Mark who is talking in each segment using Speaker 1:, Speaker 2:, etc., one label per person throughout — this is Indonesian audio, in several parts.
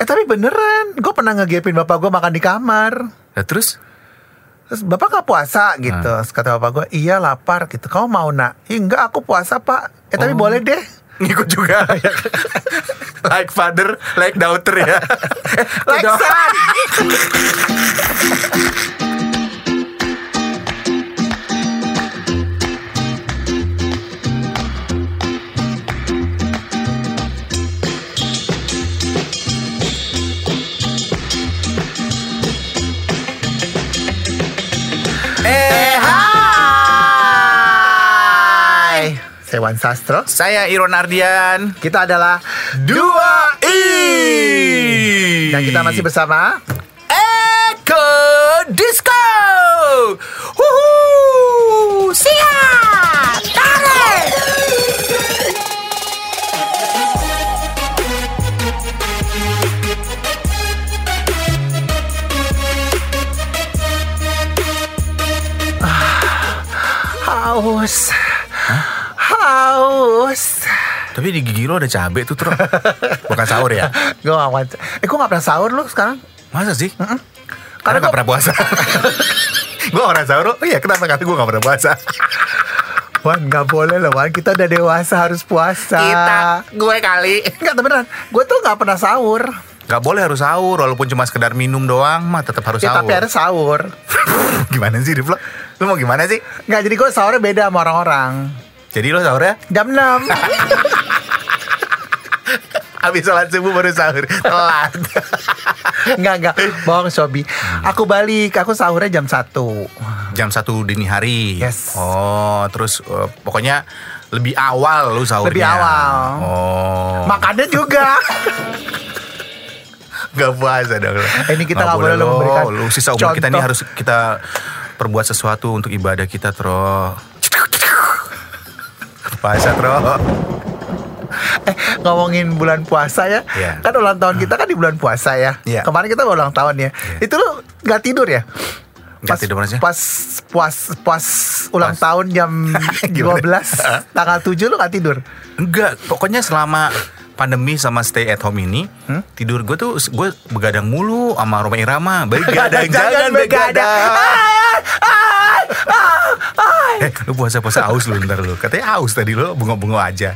Speaker 1: Eh tapi beneran, gue pernah ngegepin bapak gue makan di kamar.
Speaker 2: Nah, terus
Speaker 1: Terus bapak nggak puasa gitu, Terus kata bapak gue, iya lapar gitu. Kamu mau nak? Ih, enggak, aku puasa pak. Eh tapi boleh deh.
Speaker 2: ngikut juga. like father, like daughter ya. Eh,
Speaker 1: Like
Speaker 2: udah.
Speaker 1: son.
Speaker 2: Eh, hai.
Speaker 1: Hai, saya Wan Sastro.
Speaker 2: Saya Iron Ardian.
Speaker 1: Kita adalah
Speaker 2: Dua I.
Speaker 1: dan kita masih bersama.
Speaker 2: Eko Disco. Wuhu, siap, tarik.
Speaker 1: Haus, haus.
Speaker 2: Tapi di gigi lo ada cabe tuh, Tro. Bukan sahur ya?
Speaker 1: Gue gak mau. Eh, gue gak pernah sahur lu sekarang.
Speaker 2: Masa sih?
Speaker 1: Karena
Speaker 2: Karena
Speaker 1: gua-
Speaker 2: gak pernah puasa. gue orang sahur, oh iya kenapa kata gue gak pernah puasa?
Speaker 1: Wan nggak boleh loh Wan Kita udah dewasa harus puasa
Speaker 2: gue kali.
Speaker 1: Enggak beneran Gue tuh nggak pernah sahur
Speaker 2: Gak boleh harus sahur, walaupun cuma sekedar minum doang mah tetap harus
Speaker 1: Ya
Speaker 2: sahur.
Speaker 1: tapi harus sahur
Speaker 2: gimana sih, Rif lo? Lo mau gimana sih?
Speaker 1: Nggak jadi gue sahurnya beda sama orang-orang
Speaker 2: Jadi lo ya? sahurnya
Speaker 1: Jam 6
Speaker 2: habis sholat subuh baru sahur, telat.
Speaker 1: Enggak enggak Bohong Sobi Aku balik Aku sahurnya jam 1
Speaker 2: Jam satu dini hari.
Speaker 1: Yes.
Speaker 2: Oh, terus eh, pokoknya lebih awal lo sahurnya.
Speaker 1: Lebih awal.
Speaker 2: Oh.
Speaker 1: Makannya juga
Speaker 2: Gak puasa dong lo.
Speaker 1: Ini kita gak boleh lo memberikan
Speaker 2: Lu sisa umur kita ini
Speaker 1: contoh.
Speaker 2: harus kita perbuat sesuatu untuk ibadah kita, Tro. Puasa, Tro.
Speaker 1: Eh ngomongin bulan puasa ya
Speaker 2: Iya.
Speaker 1: Kan ulang tahun kita kan di bulan puasa ya
Speaker 2: Iya.
Speaker 1: Kemarin kita ulang tahun ya Itu lu nggak tidur ya
Speaker 2: Nggak tidur mana sih?
Speaker 1: pas puas puas ulang
Speaker 2: Pas.
Speaker 1: tahun jam
Speaker 2: Gimana?
Speaker 1: 12 tanggal 7 lu gak tidur
Speaker 2: Enggak, pokoknya selama pandemi sama stay at home ini tidur gue tuh gue begadang mulu sama Roma Irama begadang jangan begadang
Speaker 1: Ah,
Speaker 2: eh lu puasa puasa aus lu ntar lu katanya aus tadi lu bengong bengong aja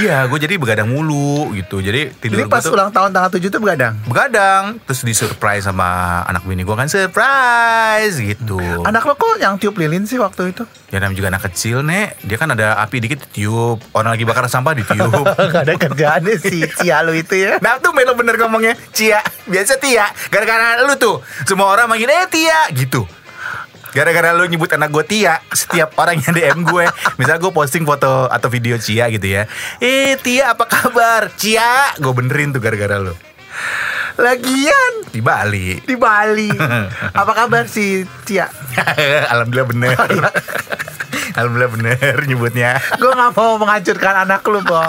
Speaker 2: iya gue jadi begadang mulu gitu jadi
Speaker 1: Ini
Speaker 2: tidur gue
Speaker 1: pas
Speaker 2: tuh
Speaker 1: ulang tahun tanggal 7 tuh begadang.
Speaker 2: begadang terus di surprise sama anak bini gue kan surprise gitu
Speaker 1: Anak lo kok yang tiup lilin sih waktu itu?
Speaker 2: ya namanya juga anak kecil nek dia kan ada api dikit ditiup orang lagi bakar sampah ditiup
Speaker 1: Gak Eh, ada kerjaan si Cia lu itu ya.
Speaker 2: Nah tuh Melo bener ngomongnya Cia Biasa Tia Gara-gara lu tuh Semua orang manggil Eh Tia Gitu Gara-gara lu nyebut anak gue Tia Setiap orang yang DM gue Misal gue posting foto Atau video Cia gitu ya Eh Tia apa kabar Cia Gue benerin tuh gara-gara lu
Speaker 1: Lagian
Speaker 2: Di Bali
Speaker 1: di Bali. Apa kabar si Cia?
Speaker 2: Alhamdulillah bener Alhamdulillah bener nyebutnya
Speaker 1: Gue gak mau menghancurkan anak lu, Bo.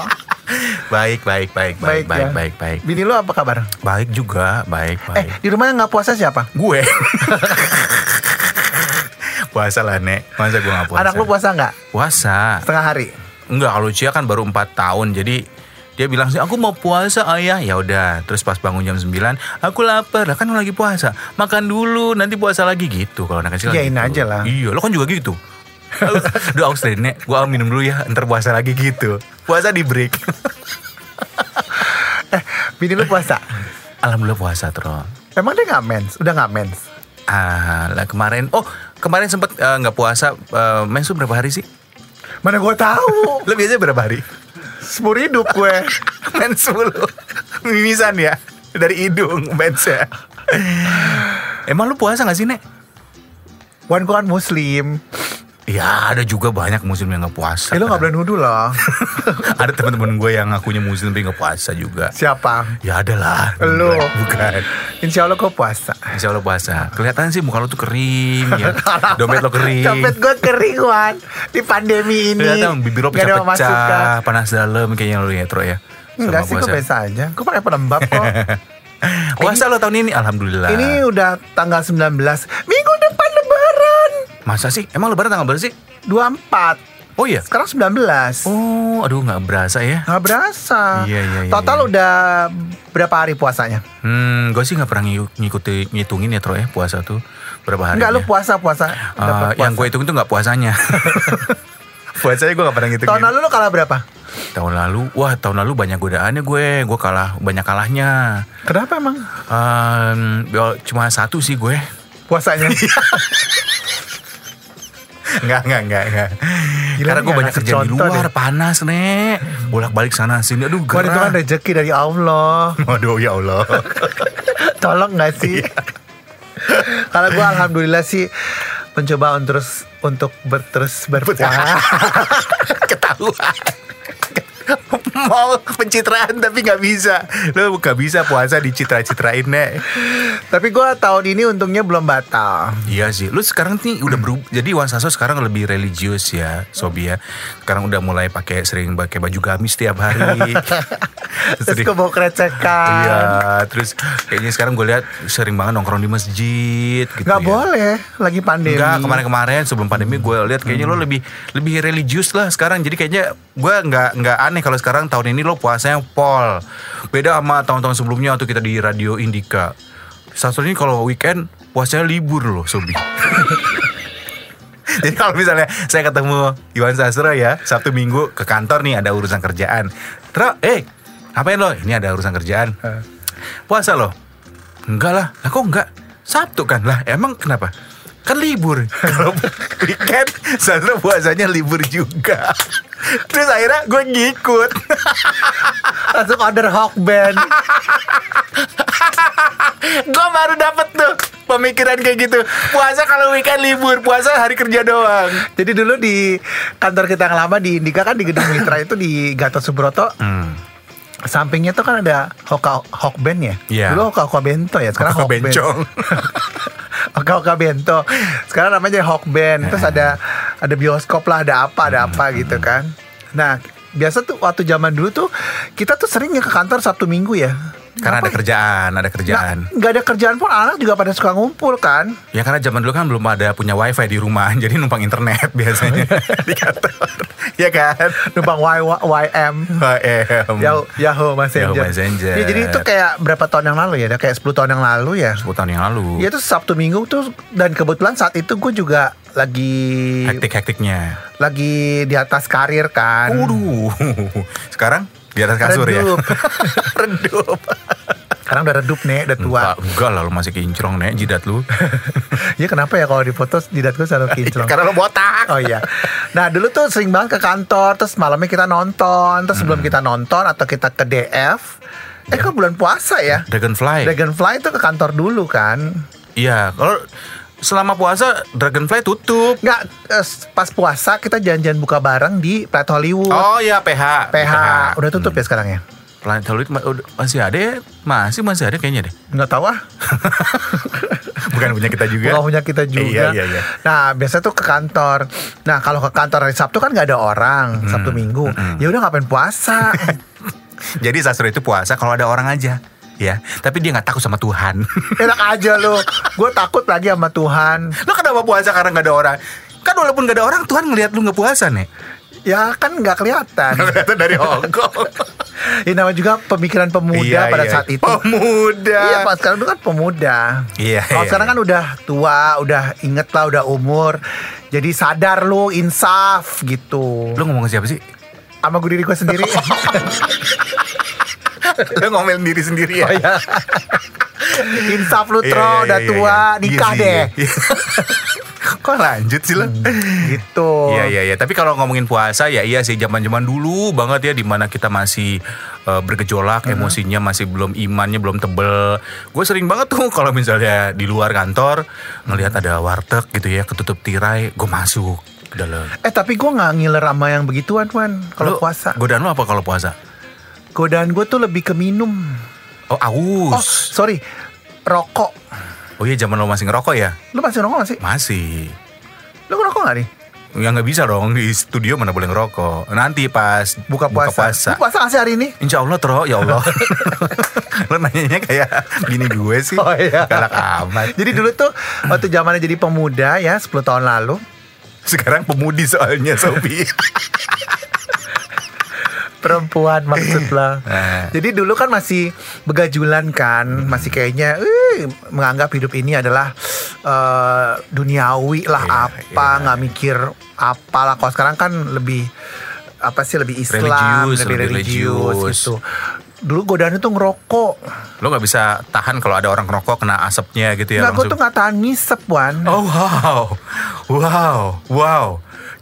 Speaker 2: Baik baik baik baik baik baik baik baik,
Speaker 1: Bini lu apa kabar?
Speaker 2: juga baik
Speaker 1: ya. Eh,
Speaker 2: baik
Speaker 1: di rumah yang gak puasa siapa?
Speaker 2: Gue Puasa lah Nek Masa gue gak puasa
Speaker 1: Anak lu puasa nggak?
Speaker 2: Puasa
Speaker 1: Setengah hari.
Speaker 2: Enggak kalau Cia kan baru 4 tahun Jadi dia bilang sih aku mau puasa ayah ya udah terus pas bangun jam 9 aku lapar lah kan lu lagi puasa makan dulu nanti puasa lagi gitu kalau anak kecil kan
Speaker 1: Iyain
Speaker 2: gitu.
Speaker 1: aja lah.
Speaker 2: iya lo kan juga gitu Duh aus deh nek Gua minum dulu ya Ntar puasa lagi gitu Puasa di break
Speaker 1: Eh, Bini lu puasa.
Speaker 2: Alhamdulillah puasa Tro
Speaker 1: Emang dia nggak mens? Udah nggak mens?
Speaker 2: Ah lah kemarin Oh kemarin sempet eh, nggak puasa eh, Mens tuh berapa hari sih?
Speaker 1: Mana gue tahu?
Speaker 2: Lo biasanya berapa hari?
Speaker 1: Seumur hidup gue.
Speaker 2: mens mulu mimisan ya dari hidung ya? mensnya emang lu puasa gak sih nek
Speaker 1: Wan gue kan muslim.
Speaker 2: ya ada juga banyak muslim yang gak puasa
Speaker 1: Eh, lu nggak boleh nuduh loh.
Speaker 2: ada teman-teman gue yang ngakunya muslim tapi gak puasa juga
Speaker 1: Siapa?
Speaker 2: ya ada lah
Speaker 1: Lu.
Speaker 2: bukan
Speaker 1: Insya Allah gue puasa.
Speaker 2: Insya Allah puasa Kelihatan sih muka lu tuh kering ya. Dompet lo kering
Speaker 1: Dompet gue kering Wan Di pandemi ini
Speaker 2: Kelihatan bibir lo
Speaker 1: Nggak ada pemasukan.
Speaker 2: pecah-pecah Panas dalam kayaknya lu ya Tro ya Selama
Speaker 1: Enggak sih gue
Speaker 2: puasa.
Speaker 1: biasa aja Gue pakai pelembab kan kok
Speaker 2: Nah. Puasa lo tahun ini Alhamdulillah
Speaker 1: Ini udah tanggal 19 Minggu depan lebaran
Speaker 2: Masa sih? Emang lebaran tanggal berapa sih?
Speaker 1: 24
Speaker 2: Oh iya.
Speaker 1: Sekarang 19.
Speaker 2: Oh, aduh nggak berasa ya.
Speaker 1: Nggak berasa.
Speaker 2: Iya, iya, iya,
Speaker 1: Total
Speaker 2: iya.
Speaker 1: udah berapa hari puasanya?
Speaker 2: Hmm, gue sih nggak pernah ngi- ngikuti ngitungin ya Tro ya puasa tuh berapa hari. ya. Eh, iya,
Speaker 1: Enggak lu puasa-puasa. Dapat puasa.
Speaker 2: yang gue hitung tuh nggak puasanya. puasanya gue nggak pernah ngitungin.
Speaker 1: Tahun lalu lu kalah berapa?
Speaker 2: Tahun lalu, wah tahun lalu banyak godaannya gue, gue kalah banyak kalahnya.
Speaker 1: Kenapa emang?
Speaker 2: Em, ya, cuma satu sih gue.
Speaker 1: Puasanya.
Speaker 2: Iya, Enggak, enggak, enggak, enggak.
Speaker 1: Gila, ini
Speaker 2: Karena gue
Speaker 1: nggak
Speaker 2: banyak
Speaker 1: ngasih
Speaker 2: kerja di
Speaker 1: contoh
Speaker 2: luar,
Speaker 1: deh.
Speaker 2: panas nek. Bolak-balik sana sini, aduh
Speaker 1: Wah, itu kan
Speaker 2: gerah.
Speaker 1: rezeki dari Allah.
Speaker 2: Waduh, ya Allah.
Speaker 1: Tolong nggak
Speaker 2: Iya.
Speaker 1: sih? Kalau gue alhamdulillah sih mencoba untuk terus untuk ber- terus berpuasa.
Speaker 2: Ketahuan. Mau pencitraan tapi nggak bisa. Lo nggak bisa puasa dicitra-citrain nek.
Speaker 1: Tapi gue tahun ini untungnya belum batal.
Speaker 2: Iya sih, lu sekarang nih udah berubah. Jadi Wan Sasso sekarang lebih religius ya, Sobi ya. Sekarang udah mulai pakai sering pakai baju gamis setiap hari.
Speaker 1: Terus
Speaker 2: Sering-
Speaker 1: gue bawa
Speaker 2: Iya,
Speaker 1: kerecekan.
Speaker 2: terus kayaknya sekarang gue lihat sering banget nongkrong di masjid gitu.
Speaker 1: Nggak
Speaker 2: ya.
Speaker 1: boleh lagi pandemi.
Speaker 2: Enggak, kemarin-kemarin sebelum pandemi gue lihat kayaknya lo lebih lebih religius lah sekarang. Jadi kayaknya gue nggak nggak aneh kalau sekarang tahun ini lo puasanya pol. Beda sama tahun-tahun sebelumnya waktu kita di radio Indika. Saat ini kalau weekend puasanya libur loh, Sobi. Jadi kalau misalnya saya ketemu Iwan Sastro ya Sabtu Minggu ke kantor nih ada urusan kerjaan. Tro, eh ngapain lo? Ini ada urusan kerjaan. Puasa lo? Enggak lah. Lah kok enggak? Sabtu kan lah. Emang kenapa? Kan libur. Kalau weekend Sastro puasanya libur juga. Terus akhirnya gue ngikut.
Speaker 1: Langsung order Hawk Band.
Speaker 2: gue baru dapet tuh pemikiran kayak gitu. Puasa kalau weekend libur, puasa hari kerja doang.
Speaker 1: Jadi dulu di kantor kita yang lama di Indika kan di Gedung Mitra itu di Gatot Subroto.
Speaker 2: Hmm.
Speaker 1: Sampingnya tuh kan ada Hoka Hawk Band ya.
Speaker 2: Iya.
Speaker 1: Dulu Hoka Hoka Bento ya, sekarang
Speaker 2: Hoka
Speaker 1: Hawk Band.
Speaker 2: Bencong.
Speaker 1: Hoka Hoka Bento. Sekarang namanya Hawk Band. Terus ada ada bioskop lah, ada apa, ada apa gitu kan. Nah, biasa tuh waktu zaman dulu tuh kita tuh seringnya ke kantor Sabtu Minggu ya.
Speaker 2: Karena ada kerjaan, ada kerjaan.
Speaker 1: Nggak, nggak ada kerjaan pun anak juga pada suka ngumpul kan.
Speaker 2: Ya karena zaman dulu kan belum ada punya wifi di rumah, jadi numpang internet biasanya di kantor. Ya kan?
Speaker 1: Numpang Y- YM.
Speaker 2: HM.
Speaker 1: Yahoo, Yahoo Messenger.
Speaker 2: Yahoo Messenger.
Speaker 1: Ya, jadi itu kayak berapa tahun yang lalu ya? Ada Kayak 10 tahun yang lalu ya.
Speaker 2: 10 tahun yang lalu.
Speaker 1: Ya itu Sabtu Minggu tuh dan kebetulan saat itu gue juga lagi
Speaker 2: Hektik-hektiknya.
Speaker 1: lagi di atas karir kan.
Speaker 2: Waduh. Sekarang di atas kasur
Speaker 1: Redup.
Speaker 2: ya. Redup.
Speaker 1: Sekarang udah redup nih, udah tua.
Speaker 2: Enggak, enggak lah lu masih kinclong nek jidat lu.
Speaker 1: ya kenapa ya kalau dipoto jidat gue selalu kinclong.
Speaker 2: Karena lu botak.
Speaker 1: Oh iya. Nah dulu tuh sering banget ke kantor, terus malamnya kita nonton, terus sebelum kita nonton atau kita ke DF, eh kok bulan puasa ya?
Speaker 2: Dragonfly.
Speaker 1: Dragonfly itu ke kantor dulu kan?
Speaker 2: Iya, kalau selama puasa Dragonfly tutup.
Speaker 1: Nggak, eh, pas puasa kita janjian buka bareng di Planet Hollywood.
Speaker 2: Oh iya PH.
Speaker 1: PH udah tutup ya sekarang ya?
Speaker 2: Planet Hollywood ma- udah- masih ada ya? Masih masih ada kayaknya deh.
Speaker 1: Nggak tahu ah,
Speaker 2: Bukan punya kita juga.
Speaker 1: bukan punya kita juga.
Speaker 2: Iya, iya, iya.
Speaker 1: Nah, biasa tuh ke kantor. Nah, kalau ke kantor hari Sabtu kan nggak ada
Speaker 2: Hmm,
Speaker 1: orang, Sabtu Minggu. Ya udah ngapain puasa?
Speaker 2: Jadi sastro itu puasa kalau ada orang aja, ya. Tapi dia nggak takut sama Tuhan.
Speaker 1: Enak aja lo. Gue takut lagi sama Tuhan.
Speaker 2: Lo kenapa puasa karena nggak ada orang? Kan walaupun nggak ada orang, Tuhan ngelihat lu nggak puasa nih.
Speaker 1: Ya kan nggak kelihatan.
Speaker 2: Ternyata dari Hongkong.
Speaker 1: Ini namanya juga pemikiran
Speaker 2: Iya,
Speaker 1: pemuda pada saat itu.
Speaker 2: Oh, Pemuda.
Speaker 1: Iya, pas sekarang itu kan pemuda.
Speaker 2: Iya,
Speaker 1: Kalau
Speaker 2: iya,
Speaker 1: sekarang kan udah tua, udah inget lah, udah umur. Jadi sadar lu, insaf gitu.
Speaker 2: Lo ngomong ke siapa sih?
Speaker 1: Sama gue diri gue sendiri.
Speaker 2: Lo ngomelin diri sendiri ya.
Speaker 1: insaf lu,
Speaker 2: Iya,
Speaker 1: Tro,
Speaker 2: iya, iya,
Speaker 1: udah
Speaker 2: iya,
Speaker 1: tua,
Speaker 2: iya.
Speaker 1: nikah
Speaker 2: Iya sih,
Speaker 1: deh.
Speaker 2: iya. Kok lanjut sih lo?
Speaker 1: Gitu.
Speaker 2: Iya iya iya. Tapi kalau ngomongin puasa ya iya sih zaman-zaman dulu banget ya dimana kita masih eh, bergejolak,
Speaker 1: Hmm.
Speaker 2: emosinya masih belum imannya belum tebel. Gue sering banget tuh kalau misalnya di luar kantor ngelihat ada warteg gitu ya ketutup tirai, gue masuk ke dalam.
Speaker 1: Eh tapi gue nggak ngiler sama yang begituan, Wan. Kalau
Speaker 2: Lu,
Speaker 1: puasa,
Speaker 2: Godaan lo apa kalau puasa?
Speaker 1: godaan gue tuh lebih ke minum.
Speaker 2: Oh
Speaker 1: Oh,
Speaker 2: aus.
Speaker 1: sorry, rokok.
Speaker 2: Oh, iya zaman lo masih ngerokok ya?
Speaker 1: Lu masih ngerokok nggak sih?
Speaker 2: Masih.
Speaker 1: Lu ngerokok nggak nih?
Speaker 2: Ya nggak bisa dong di studio mana boleh ngerokok. Nanti pas
Speaker 1: Buka puasa. Lu puasa nggak sih hari ini?
Speaker 2: Insya Allah Tro, ya Allah Lo nanyanya kayak bini gue sih
Speaker 1: Oh, iya.
Speaker 2: Galak amat
Speaker 1: Jadi dulu tuh waktu zamannya jadi pemuda ya 10 tahun lalu
Speaker 2: Sekarang pemudi soalnya Sobi.
Speaker 1: perempuan maksud lah.
Speaker 2: Ah.
Speaker 1: Jadi dulu kan masih begajulan kan, masih kayaknya eh, menganggap hidup ini adalah eh, duniawi lah
Speaker 2: Iya,
Speaker 1: apa,
Speaker 2: iya.
Speaker 1: nggak mikir apalah. Kalau sekarang kan lebih apa sih lebih Islam,
Speaker 2: Religius,
Speaker 1: lebih
Speaker 2: lebih
Speaker 1: religius
Speaker 2: religius.
Speaker 1: gitu. Dulu godaan itu ngerokok.
Speaker 2: Lo nggak bisa tahan kalau ada orang ngerokok kena asapnya gitu ya
Speaker 1: Nggak, gue
Speaker 2: langsung.
Speaker 1: tuh nggak tahan ngisep, Wan.
Speaker 2: Oh wow, wow, wow.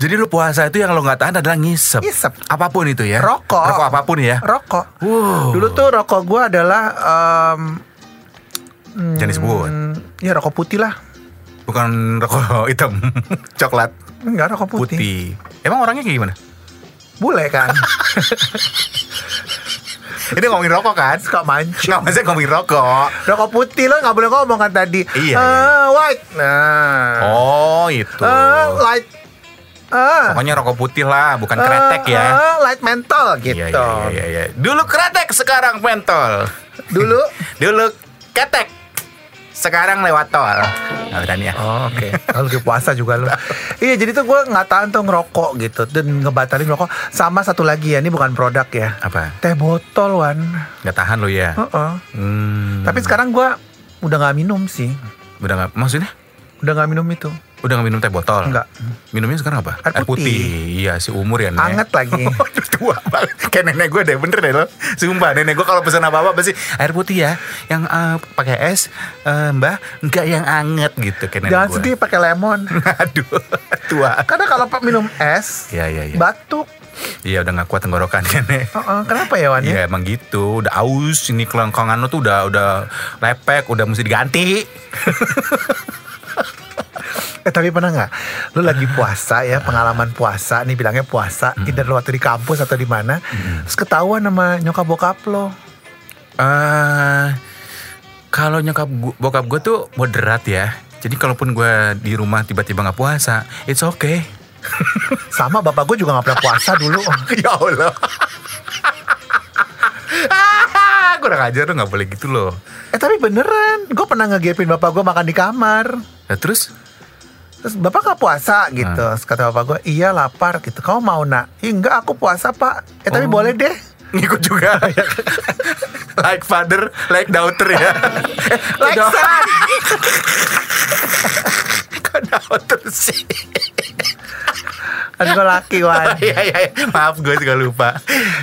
Speaker 2: Jadi lu puasa itu yang lo nggak tahan adalah ngisep.
Speaker 1: Ngisep.
Speaker 2: Apapun itu ya.
Speaker 1: Rokok.
Speaker 2: Rokok apapun ya.
Speaker 1: Rokok.
Speaker 2: Wow.
Speaker 1: Dulu tuh rokok gue adalah... em,
Speaker 2: Jangan disebut.
Speaker 1: hmm, ya rokok putih lah.
Speaker 2: Bukan rokok hitam, coklat
Speaker 1: Enggak, rokok putih.
Speaker 2: putih. Emang orangnya kayak gimana?
Speaker 1: Bule kan.
Speaker 2: Ini ngomongin rokok kan?
Speaker 1: Suka mancing.
Speaker 2: Nggak maksudnya ngomongin rokok.
Speaker 1: Rokok putih lo nggak boleh ngomong kan tadi.
Speaker 2: Iya,
Speaker 1: Eh,
Speaker 2: iya.
Speaker 1: white. Nah.
Speaker 2: Oh itu.
Speaker 1: Eh, light. Eh.
Speaker 2: Pokoknya rokok putih lah, bukan
Speaker 1: eh,
Speaker 2: kretek ya.
Speaker 1: eh, light mental gitu.
Speaker 2: Iya, iya, iya, iya. Dulu kretek, sekarang pentol.
Speaker 1: Dulu.
Speaker 2: Dulu ketek, sekarang lewat tol. Nggak berani ya.
Speaker 1: Oh, Oke, kalau lagi puasa juga lo. iya, jadi tuh gue nggak tahan tuh ngerokok gitu dan ngebatalin rokok. Sama satu lagi ya, ini bukan produk ya.
Speaker 2: Apa?
Speaker 1: Teh botol wan.
Speaker 2: Nggak tahan lo ya?
Speaker 1: Heeh.
Speaker 2: Hmm.
Speaker 1: Oh. Tapi sekarang gue udah nggak minum sih.
Speaker 2: udah nggak maksudnya
Speaker 1: Udah nggak minum itu.
Speaker 2: udah nggak minum teh botol
Speaker 1: Nggak.
Speaker 2: minumnya sekarang apa
Speaker 1: Air putih.
Speaker 2: iya si umur ya Nek.
Speaker 1: Anget lagi.
Speaker 2: Aduh, tua banget kayak nenek gue deh bener deh lo sumpah nenek gue kalau pesan apa apa pasti air putih ya yang eh, pakai es eh, mbak nggak yang anget gitu kayak nenek
Speaker 1: Jangan
Speaker 2: gue
Speaker 1: sedih pakai lemon.
Speaker 2: aduh tua
Speaker 1: Karena kalau pak minum es,
Speaker 2: Iya, iya, iya.
Speaker 1: batuk.
Speaker 2: iya udah nggak kuat tenggorokan ya nek
Speaker 1: Heeh, kenapa ya Wan? ya?
Speaker 2: Iya emang gitu, udah aus ini kelengkongan lo tuh udah udah lepek, udah mesti diganti.
Speaker 1: Eh tapi pernah nggak? Lu lagi puasa ya, pengalaman puasa nih bilangnya puasa, tidak lu waktu di kampus atau di mana, terus ketahuan sama nyokap bokap lo.
Speaker 2: eh kalau nyokap gu- bokap gue tuh moderat ya. Jadi kalaupun gue di rumah tiba-tiba nggak puasa, it's okay.
Speaker 1: Sama bapak gue juga nggak pernah puasa dulu.
Speaker 2: ya Allah. gue udah ngajar tuh nggak boleh gitu loh.
Speaker 1: Eh tapi beneran, gue pernah ngegepin bapak gue makan di kamar.
Speaker 2: Nah, terus
Speaker 1: Terus bapak nggak puasa gitu,
Speaker 2: Ah.
Speaker 1: Terus kata bapak gue, iya lapar gitu. Kau mau nak? Ih, enggak aku puasa pak. Eh tapi
Speaker 2: Oh.
Speaker 1: boleh deh.
Speaker 2: ngikut juga. like father, like daughter ya.
Speaker 1: Like
Speaker 2: Kok da-
Speaker 1: son.
Speaker 2: kok daughter sih.
Speaker 1: Aduh gue laki wan.
Speaker 2: Iya iya, iya. maaf gue juga lupa.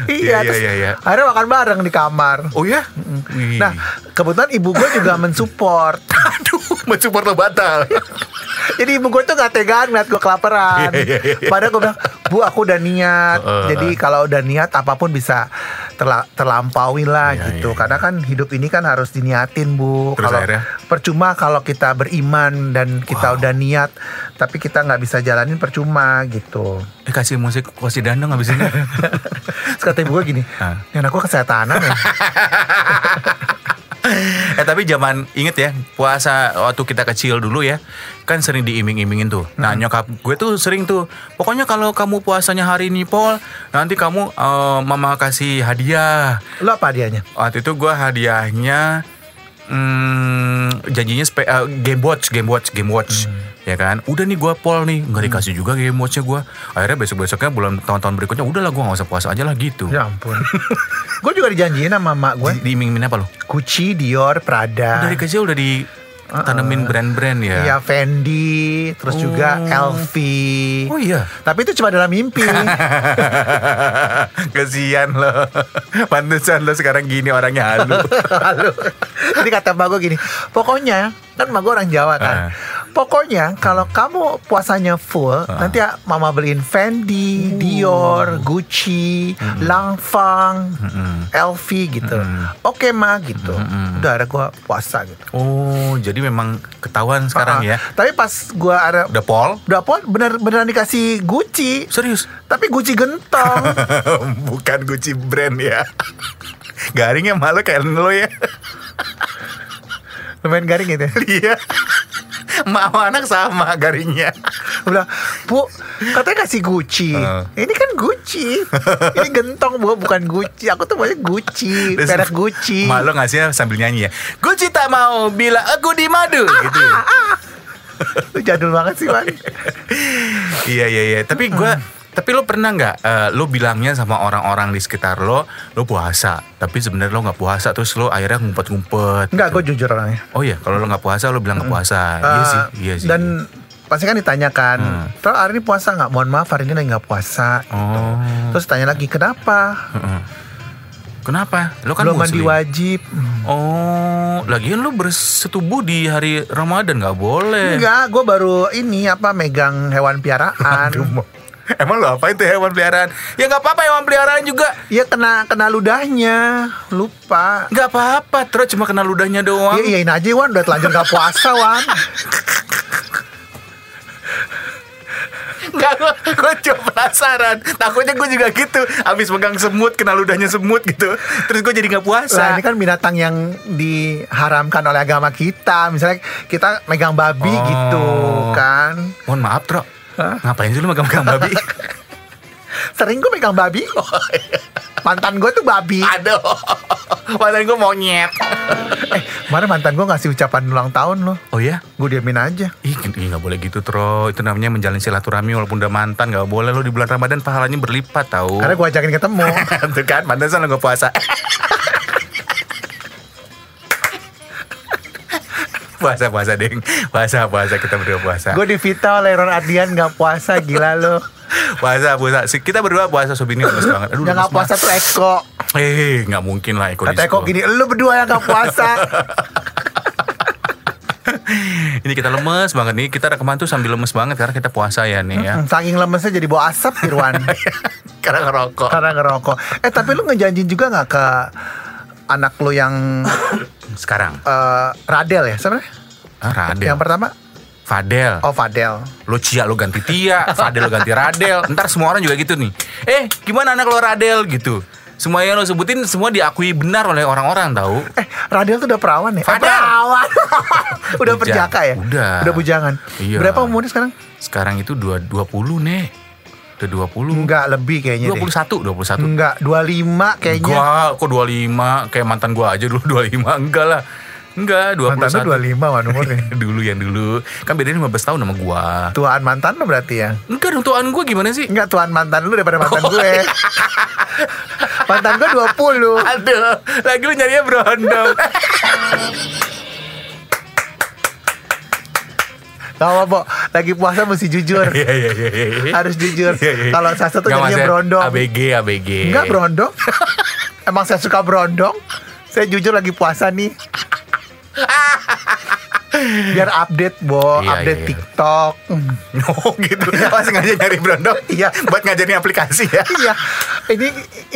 Speaker 1: iya,
Speaker 2: iya
Speaker 1: terus
Speaker 2: iya. iya.
Speaker 1: akhirnya makan bareng di kamar.
Speaker 2: Oh ya?
Speaker 1: Nah, kebetulan ibu gue juga mensupport.
Speaker 2: aduh, mencumpur lo batal.
Speaker 1: Jadi ibu gue tuh gak tegaan ngeliat gue kelaparan.
Speaker 2: Iya, iya, iya.
Speaker 1: Padahal gue bilang, bu aku udah niat.
Speaker 2: Heeh.
Speaker 1: Jadi kalau udah niat apapun bisa terla terlampaui lah
Speaker 2: Iya,
Speaker 1: gitu.
Speaker 2: iya, iya.
Speaker 1: Karena kan hidup ini kan harus diniatin bu.
Speaker 2: Terus
Speaker 1: Kalau
Speaker 2: akhirnya?
Speaker 1: percuma kalau kita beriman dan kita udah niat, tapi kita nggak bisa jalanin percuma gitu.
Speaker 2: Eh kasih musik kasih dandang abis ini.
Speaker 1: Terus kata ibu gue gini,
Speaker 2: Ah.
Speaker 1: ini anak gue kesetanan ya.
Speaker 2: eh tapi zaman inget ya puasa waktu kita kecil dulu ya kan sering diiming-imingin tuh. Nah nyokap gue tuh sering tuh. Pokoknya kalau kamu puasanya hari ini Pol, nanti kamu eh, mama kasih hadiah.
Speaker 1: Lo apa dianya?
Speaker 2: Waktu itu gue hadiahnya hmm, janjinya spe- eh, game watch, game watch, game watch. Ya kan, udah nih gue pol nih, nggak dikasih juga game watchnya gue. Akhirnya besok besoknya bulan tahun-tahun berikutnya, udahlah gue nggak usah puasa aja lah gitu.
Speaker 1: Ya ampun. gue juga dijanjiin sama emak gue.
Speaker 2: Di- Diiming-iming apa lo?
Speaker 1: Gucci, Dior, Prada.
Speaker 2: Dari kecil udah ditanemin brand-brand ya.
Speaker 1: Iya Fendi, terus
Speaker 2: Oh.
Speaker 1: juga LV.
Speaker 2: Oh iya.
Speaker 1: Tapi itu cuma dalam mimpi.
Speaker 2: Kasihan lo. Pantesan lo sekarang gini orangnya halu.
Speaker 1: Lalu, jadi kata mbak gue gini, pokoknya kan mbak gue orang Jawa kan.
Speaker 2: Ah.
Speaker 1: Pokoknya kalau
Speaker 2: Hmm.
Speaker 1: kamu puasanya full, nanti ya mama beliin
Speaker 2: Oh.
Speaker 1: Fendi, Dior, Gucci,
Speaker 2: Hmm.
Speaker 1: Langfang, LV gitu. Oke ma gitu.
Speaker 2: Hmm.
Speaker 1: Udah ada gue puasa gitu.
Speaker 2: oh, jadi memang ketahuan sekarang
Speaker 1: Ah,
Speaker 2: ya.
Speaker 1: Tapi pas gue ada
Speaker 2: Udah pol?
Speaker 1: udah pun bener beneran dikasih Gucci,
Speaker 2: Serius?
Speaker 1: tapi Gucci gentong.
Speaker 2: Bukan Gucci brand ya. Garingnya malu kayak lo ya.
Speaker 1: lumayan garing gitu ya.
Speaker 2: Iya. Mau anak sama garingnya.
Speaker 1: Gue bilang, bu katanya kasih Gucci
Speaker 2: Heeh.
Speaker 1: ini kan Gucci ini gentong bu bukan Gucci aku tuh maunya Gucci
Speaker 2: Terus
Speaker 1: merek Gucci
Speaker 2: Malu ngasihnya sambil nyanyi ya. Gucci tak mau bila aku di madu gitu.
Speaker 1: Lu jadul banget sih man
Speaker 2: Iya iya iya. Tapi gue, tapi lo pernah nggak eh, lo bilangnya sama orang-orang di sekitar lo, lo puasa, tapi sebenarnya lo nggak puasa, terus lo akhirnya ngumpet-ngumpet.
Speaker 1: Enggak, gue jujur orangnya.
Speaker 2: Oh iya, kalau lo nggak puasa, lo bilang nggak puasa. iya
Speaker 1: Eh,
Speaker 2: sih, iya Hmm. sih.
Speaker 1: Dan pasti kan ditanyakan, terus hari ini puasa nggak? Mohon maaf hari ini lagi nggak puasa.
Speaker 2: oh,
Speaker 1: Terus tanya lagi kenapa?
Speaker 2: heeh. kenapa? Lo kan
Speaker 1: Belum mandi
Speaker 2: muslim.
Speaker 1: wajib?
Speaker 2: Hmm. Oh, lagian lo bersetubuh di hari Ramadan nggak boleh.
Speaker 1: Enggak, gue baru ini apa megang hewan piaraan.
Speaker 2: Emang lo apain tuh hewan peliharaan? Ya nggak apa-apa hewan peliharaan juga.
Speaker 1: Iya kena kena ludahnya, lupa.
Speaker 2: Nggak apa-apa, terus cuma kena ludahnya doang.
Speaker 1: Iya iyain aja Wan, udah telanjur nggak puasa Wan.
Speaker 2: Enggak, gue cuma penasaran. Takutnya gue juga gitu. Abis megang semut, kena ludahnya semut gitu. Terus gue jadi nggak
Speaker 1: Lah
Speaker 2: puasa.
Speaker 1: ini kan binatang yang diharamkan oleh agama kita. Misalnya kita megang babi
Speaker 2: Oh.
Speaker 1: gitu kan.
Speaker 2: Mohon maaf, Tro. Ngapain sih lu megang-megang babi?
Speaker 1: Sering gue megang babi. Mantan gue tuh babi.
Speaker 2: Aduh, padahal gue monyet.
Speaker 1: Eh, kemarin mantan gue ngasih ucapan ulang tahun loh.
Speaker 2: Oh ya?
Speaker 1: Gue diamin aja.
Speaker 2: Ih, ih, nggak boleh gitu, Tro. Itu namanya menjalin silaturahmi walaupun udah mantan. Nggak boleh lo di bulan Ramadan pahalanya berlipat, tahu.
Speaker 1: Karena gue ajakin ketemu.
Speaker 2: Tuh kan, pantesan lo nggak puasa. puasa puasa deng puasa puasa kita berdua puasa
Speaker 1: gue divita oleh Ron Ardian nggak puasa gila lo.
Speaker 2: puasa puasa Si- kita berdua puasa sob ini lemes banget aduh
Speaker 1: Yang nggak puasa tuh Eko.
Speaker 2: eh nggak mungkin lah Eko
Speaker 1: Kata
Speaker 2: disco.
Speaker 1: Eko gini, lu berdua yang nggak puasa.
Speaker 2: ini kita lemes banget nih kita rekaman tuh sambil lemes banget karena kita puasa ya nih ya
Speaker 1: Hmm, Saking lemesnya jadi bau asap Irwan.
Speaker 2: karena ngerokok
Speaker 1: Karena ngerokok. Eh tapi lu ngejanjin juga nggak ke anak lu yang
Speaker 2: sekarang
Speaker 1: eh, Radel ya sebenarnya?
Speaker 2: ah, Radel
Speaker 1: Yang pertama,
Speaker 2: Fadel
Speaker 1: oh Fadel.
Speaker 2: lo Cia lo ganti Tia Fadel lo ganti Radel ntar semua orang juga gitu nih eh gimana anak lo Radel gitu semua yang lo sebutin semua diakui benar oleh orang-orang tahu
Speaker 1: Eh, Radel tuh udah perawan ya? Eh,
Speaker 2: Fadel.
Speaker 1: Perawan. udah
Speaker 2: Bujang.
Speaker 1: perjaka ya?
Speaker 2: Udah.
Speaker 1: Udah bujangan.
Speaker 2: Iya.
Speaker 1: Berapa umurnya sekarang?
Speaker 2: sekarang itu dua- 20 nih udah 20
Speaker 1: Enggak lebih kayaknya Iya deh. Hmm, iya.
Speaker 2: 21 21
Speaker 1: Enggak, 25 kayaknya.
Speaker 2: Gua kok 25 kayak mantan gua aja dulu 25 enggak lah. Enggak, 21.
Speaker 1: Mantan lu 25 wan umurnya.
Speaker 2: dulu yang dulu. Kan bedanya 15 tahun sama gua.
Speaker 1: tuaan mantan lu berarti ya?
Speaker 2: Enggak dong tuaan gua gimana sih?
Speaker 1: Enggak, tuaan mantan lu daripada mantan
Speaker 2: Oh,
Speaker 1: gue.
Speaker 2: iya.
Speaker 1: mantan gue 20.
Speaker 2: Aduh, lagi lu nyarinya berondong.
Speaker 1: Gak apa-apa, lagi puasa mesti jujur.
Speaker 2: Iya iya iya iya.
Speaker 1: Harus jujur.
Speaker 2: Iya, iya.
Speaker 1: Kalau saya satu
Speaker 2: Nggak,
Speaker 1: jadinya
Speaker 2: maksudnya
Speaker 1: berondong.
Speaker 2: ABG ABG.
Speaker 1: Enggak berondong. Emang saya suka berondong. Saya jujur lagi puasa nih. Biar update, Bo.
Speaker 2: Iya,
Speaker 1: update
Speaker 2: iya, iya.
Speaker 1: TikTok. Hmm.
Speaker 2: Oh gitu. Pas sengaja nyari berondong.
Speaker 1: Iya.
Speaker 2: buat ngajarin aplikasi ya.
Speaker 1: Iya. Ini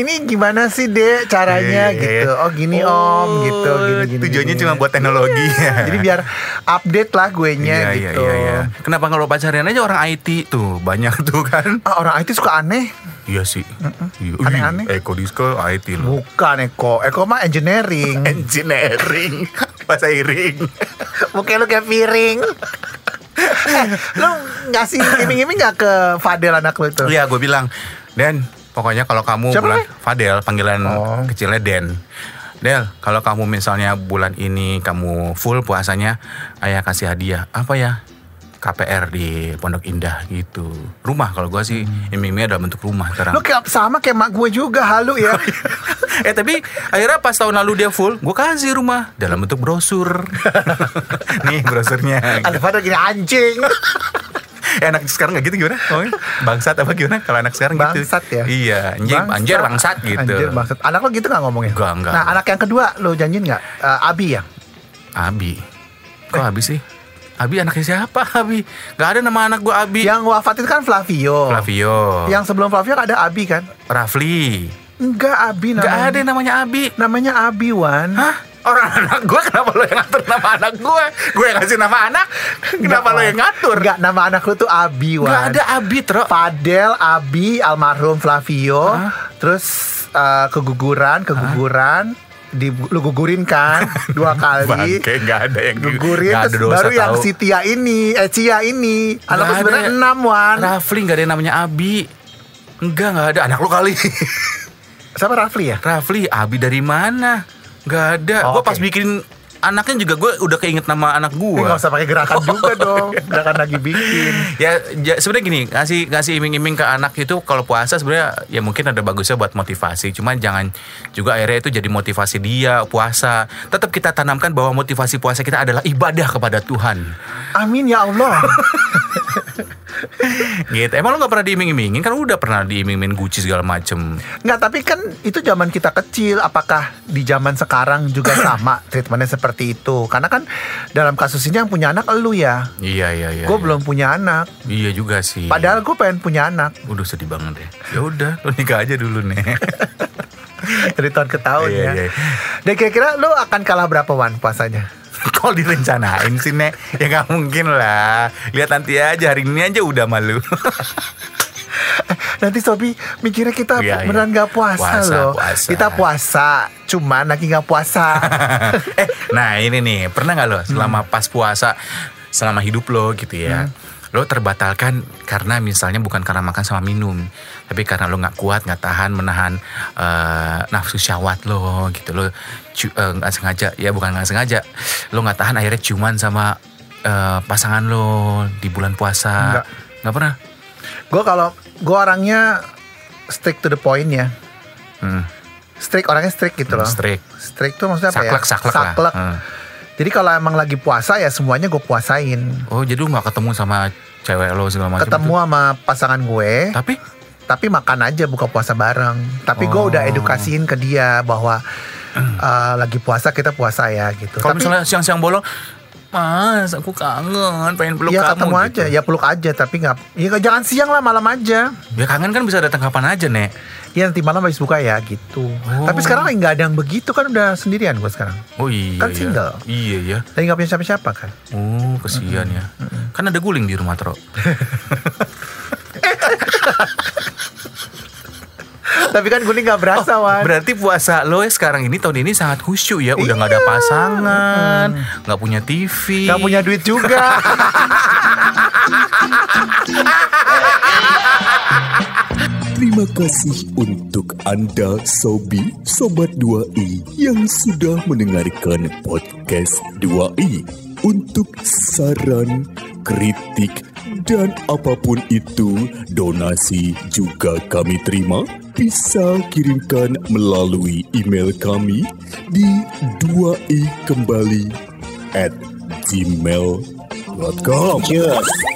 Speaker 1: ini gimana sih, Dek, caranya
Speaker 2: Iya, iya,
Speaker 1: gitu.
Speaker 2: iya.
Speaker 1: Oh, gini Om gitu, gini gini.
Speaker 2: Tujuannya
Speaker 1: gini. Iya.
Speaker 2: cuma buat teknologi.
Speaker 1: Jadi biar update lah gue nya
Speaker 2: Iya, iya,
Speaker 1: gitu.
Speaker 2: iya, iya. Kenapa kalau pacaran aja orang IT tuh banyak tuh kan?
Speaker 1: Ah, orang IT suka aneh.
Speaker 2: Iya sih. Iya.
Speaker 1: Aneh-aneh.
Speaker 2: Ih, Eko Disco IT lo.
Speaker 1: Bukan Eko. Eko mah engineering.
Speaker 2: Engineering. Bahasa iring.
Speaker 1: Mukanya lu kayak piring. eh, lu ngasih iming-iming gak ke Fadel anak lu itu?
Speaker 2: Iya, gue bilang, "Den, pokoknya kalau kamu
Speaker 1: Siapa
Speaker 2: bulan
Speaker 1: namanya?
Speaker 2: Fadel panggilan
Speaker 1: Oh.
Speaker 2: kecilnya Den." Del, kalau kamu misalnya bulan ini kamu full puasanya, ayah kasih hadiah. Apa ya? KPR di Pondok Indah gitu. Rumah kalau gua sih iming-imingnya dalam bentuk rumah terang.
Speaker 1: Lu kayak sama kayak mak gue juga halu ya.
Speaker 2: eh tapi akhirnya pas tahun lalu dia full, gue kasih rumah dalam bentuk brosur. Nih brosurnya.
Speaker 1: Ada pada gini anjing.
Speaker 2: Eh, anak sekarang nggak gitu gimana? Oh, bangsat apa gimana? Kalau anak sekarang gitu.
Speaker 1: Bangsat ya?
Speaker 2: Iya, anjing, anjir bangsat gitu.
Speaker 1: Anjir bangsat. Anak lo gitu gak ngomongnya?
Speaker 2: Enggak, enggak.
Speaker 1: Nah anak yang kedua lo janjiin gak? Eh, Abi ya?
Speaker 2: Abi. Kok Abi sih? Abi anaknya siapa Abi? Gak ada nama anak gue Abi.
Speaker 1: Yang wafat itu kan Flavio.
Speaker 2: Flavio.
Speaker 1: Yang sebelum Flavio ada Abi kan?
Speaker 2: Rafli.
Speaker 1: Enggak Abi
Speaker 2: Gak
Speaker 1: namanya.
Speaker 2: ada yang namanya Abi.
Speaker 1: Namanya Abi Wan.
Speaker 2: Hah? Orang anak gue kenapa lo yang ngatur nama anak gue? Gue yang kasih nama anak. Kenapa lo yang ngatur?
Speaker 1: Enggak nama anak lu tuh Abi Wan.
Speaker 2: Gak ada Abi, Tro.
Speaker 1: Fadel, Abi, almarhum Flavio,
Speaker 2: Hah?
Speaker 1: terus eh, keguguran, keguguran, di, lu gugurin kan dua kali,
Speaker 2: Bangke, gak ada yang
Speaker 1: gugurin,
Speaker 2: gak ada
Speaker 1: terus
Speaker 2: dosa,
Speaker 1: baru yang
Speaker 2: tahu.
Speaker 1: si Tia ini, eh Cia ini, anak lu
Speaker 2: Nggak
Speaker 1: sebenarnya
Speaker 2: ada.
Speaker 1: enam Wan,
Speaker 2: Rafli gak ada yang namanya Abi. Enggak, gak ada. Anak lo kali.
Speaker 1: sama Rafli ya,
Speaker 2: Rafli, Abi dari mana? Gak ada. Gue
Speaker 1: Oke.
Speaker 2: pas bikin anaknya juga gue udah keinget nama anak gue.
Speaker 1: Ini nggak usah pakai gerakan juga dong. Gerakan lagi bikin.
Speaker 2: ya, ja- sebenarnya gini ngasih ngasih iming-iming ke anak itu kalau puasa sebenarnya ya mungkin ada bagusnya buat motivasi cuman jangan juga akhirnya itu jadi motivasi dia puasa tetap kita tanamkan bahwa motivasi puasa kita adalah ibadah kepada Tuhan
Speaker 1: Amin ya Allah.
Speaker 2: gitu emang lo nggak pernah diiming-imingin kan udah pernah diiming-imingin Gucci segala macem
Speaker 1: Nggak, tapi kan itu zaman kita kecil. Apakah di zaman sekarang juga sama treatmentnya seperti itu? Karena kan dalam kasus ini yang punya anak elu ya.
Speaker 2: iya iya iya
Speaker 1: Gue
Speaker 2: iya.
Speaker 1: belum punya anak.
Speaker 2: iya juga sih
Speaker 1: Padahal gue pengen punya anak
Speaker 2: udah sedih banget ya ya udah lo nikah aja dulu nih
Speaker 1: dari tahun ke tahun
Speaker 2: Iya,
Speaker 1: ya.
Speaker 2: iya.
Speaker 1: Dan kira-kira lo akan kalah berapa wan puasanya?
Speaker 2: Kalau direncanain sih Nek Ya gak mungkin lah Lihat nanti aja Hari ini aja udah malu
Speaker 1: Nanti Sobi mikirnya kita
Speaker 2: Iya, iya.
Speaker 1: beneran nggak puasa,
Speaker 2: Puasa,
Speaker 1: loh.
Speaker 2: puasa.
Speaker 1: Kita puasa, cuman lagi nggak puasa.
Speaker 2: eh, nah ini nih, pernah nggak lo selama
Speaker 1: Hmm.
Speaker 2: pas puasa, selama hidup lo gitu ya, lo terbatalkan karena misalnya bukan karena makan sama minum, tapi karena lo nggak kuat, nggak tahan menahan eh, nafsu syahwat lo gitu, lo cu- eh, nggak sengaja, ya bukan nggak sengaja, lo nggak tahan akhirnya cuman sama eh, pasangan lo di bulan puasa,
Speaker 1: Nggak.
Speaker 2: nggak pernah?
Speaker 1: gue kalau gue orangnya strict to the point ya.
Speaker 2: Hmm.
Speaker 1: Strict orangnya strict gitu loh.
Speaker 2: Strict.
Speaker 1: Strict tuh maksudnya apa
Speaker 2: Saklek,
Speaker 1: ya?
Speaker 2: saklek, lah. Hmm.
Speaker 1: Jadi kalau emang lagi puasa ya semuanya gue puasain.
Speaker 2: Oh jadi lo nggak ketemu sama cewek lo segala macam?
Speaker 1: Ketemu
Speaker 2: itu?
Speaker 1: sama pasangan gue,
Speaker 2: Tapi
Speaker 1: tapi makan aja buka puasa bareng. Tapi gue
Speaker 2: Oh. Hmm.
Speaker 1: udah edukasiin ke dia bahwa eh, lagi puasa kita puasa ya gitu.
Speaker 2: Kalau
Speaker 1: tapi
Speaker 2: misalnya siang-siang bolong, Mas, aku kangen, pengen peluk
Speaker 1: ya
Speaker 2: kamu
Speaker 1: ketemu aja,
Speaker 2: gitu.
Speaker 1: ya peluk aja tapi nggak, ya jangan siang lah malam aja.
Speaker 2: Ya kangen kan bisa datang kapan aja, Nek.
Speaker 1: Ya nanti malam habis buka ya gitu. Tapi sekarang lagi nggak ada yang begitu kan udah sendirian gue sekarang.
Speaker 2: Oh iya.
Speaker 1: Kan
Speaker 2: iya.
Speaker 1: single.
Speaker 2: Iya ya.
Speaker 1: Lagi nggak punya siapa-siapa kan.
Speaker 2: Oh, kesian ya. Kan ada guling di rumah Tro.
Speaker 1: Kan. tapi kan guling nggak berasa
Speaker 2: Oh,
Speaker 1: wan.
Speaker 2: Berarti puasa lo sekarang ini tahun ini sangat khusyuk ya. Udah nggak ada pasangan, nggak punya TV.
Speaker 1: Gak Iya. punya duit juga.
Speaker 3: Terima kasih untuk Anda Sobi Sobat 2i yang sudah mendengarkan podcast 2i. Untuk saran, kritik, dan apapun itu, donasi juga kami terima. Bisa kirimkan melalui email kami di 2i kembali at gmail.com. Yes.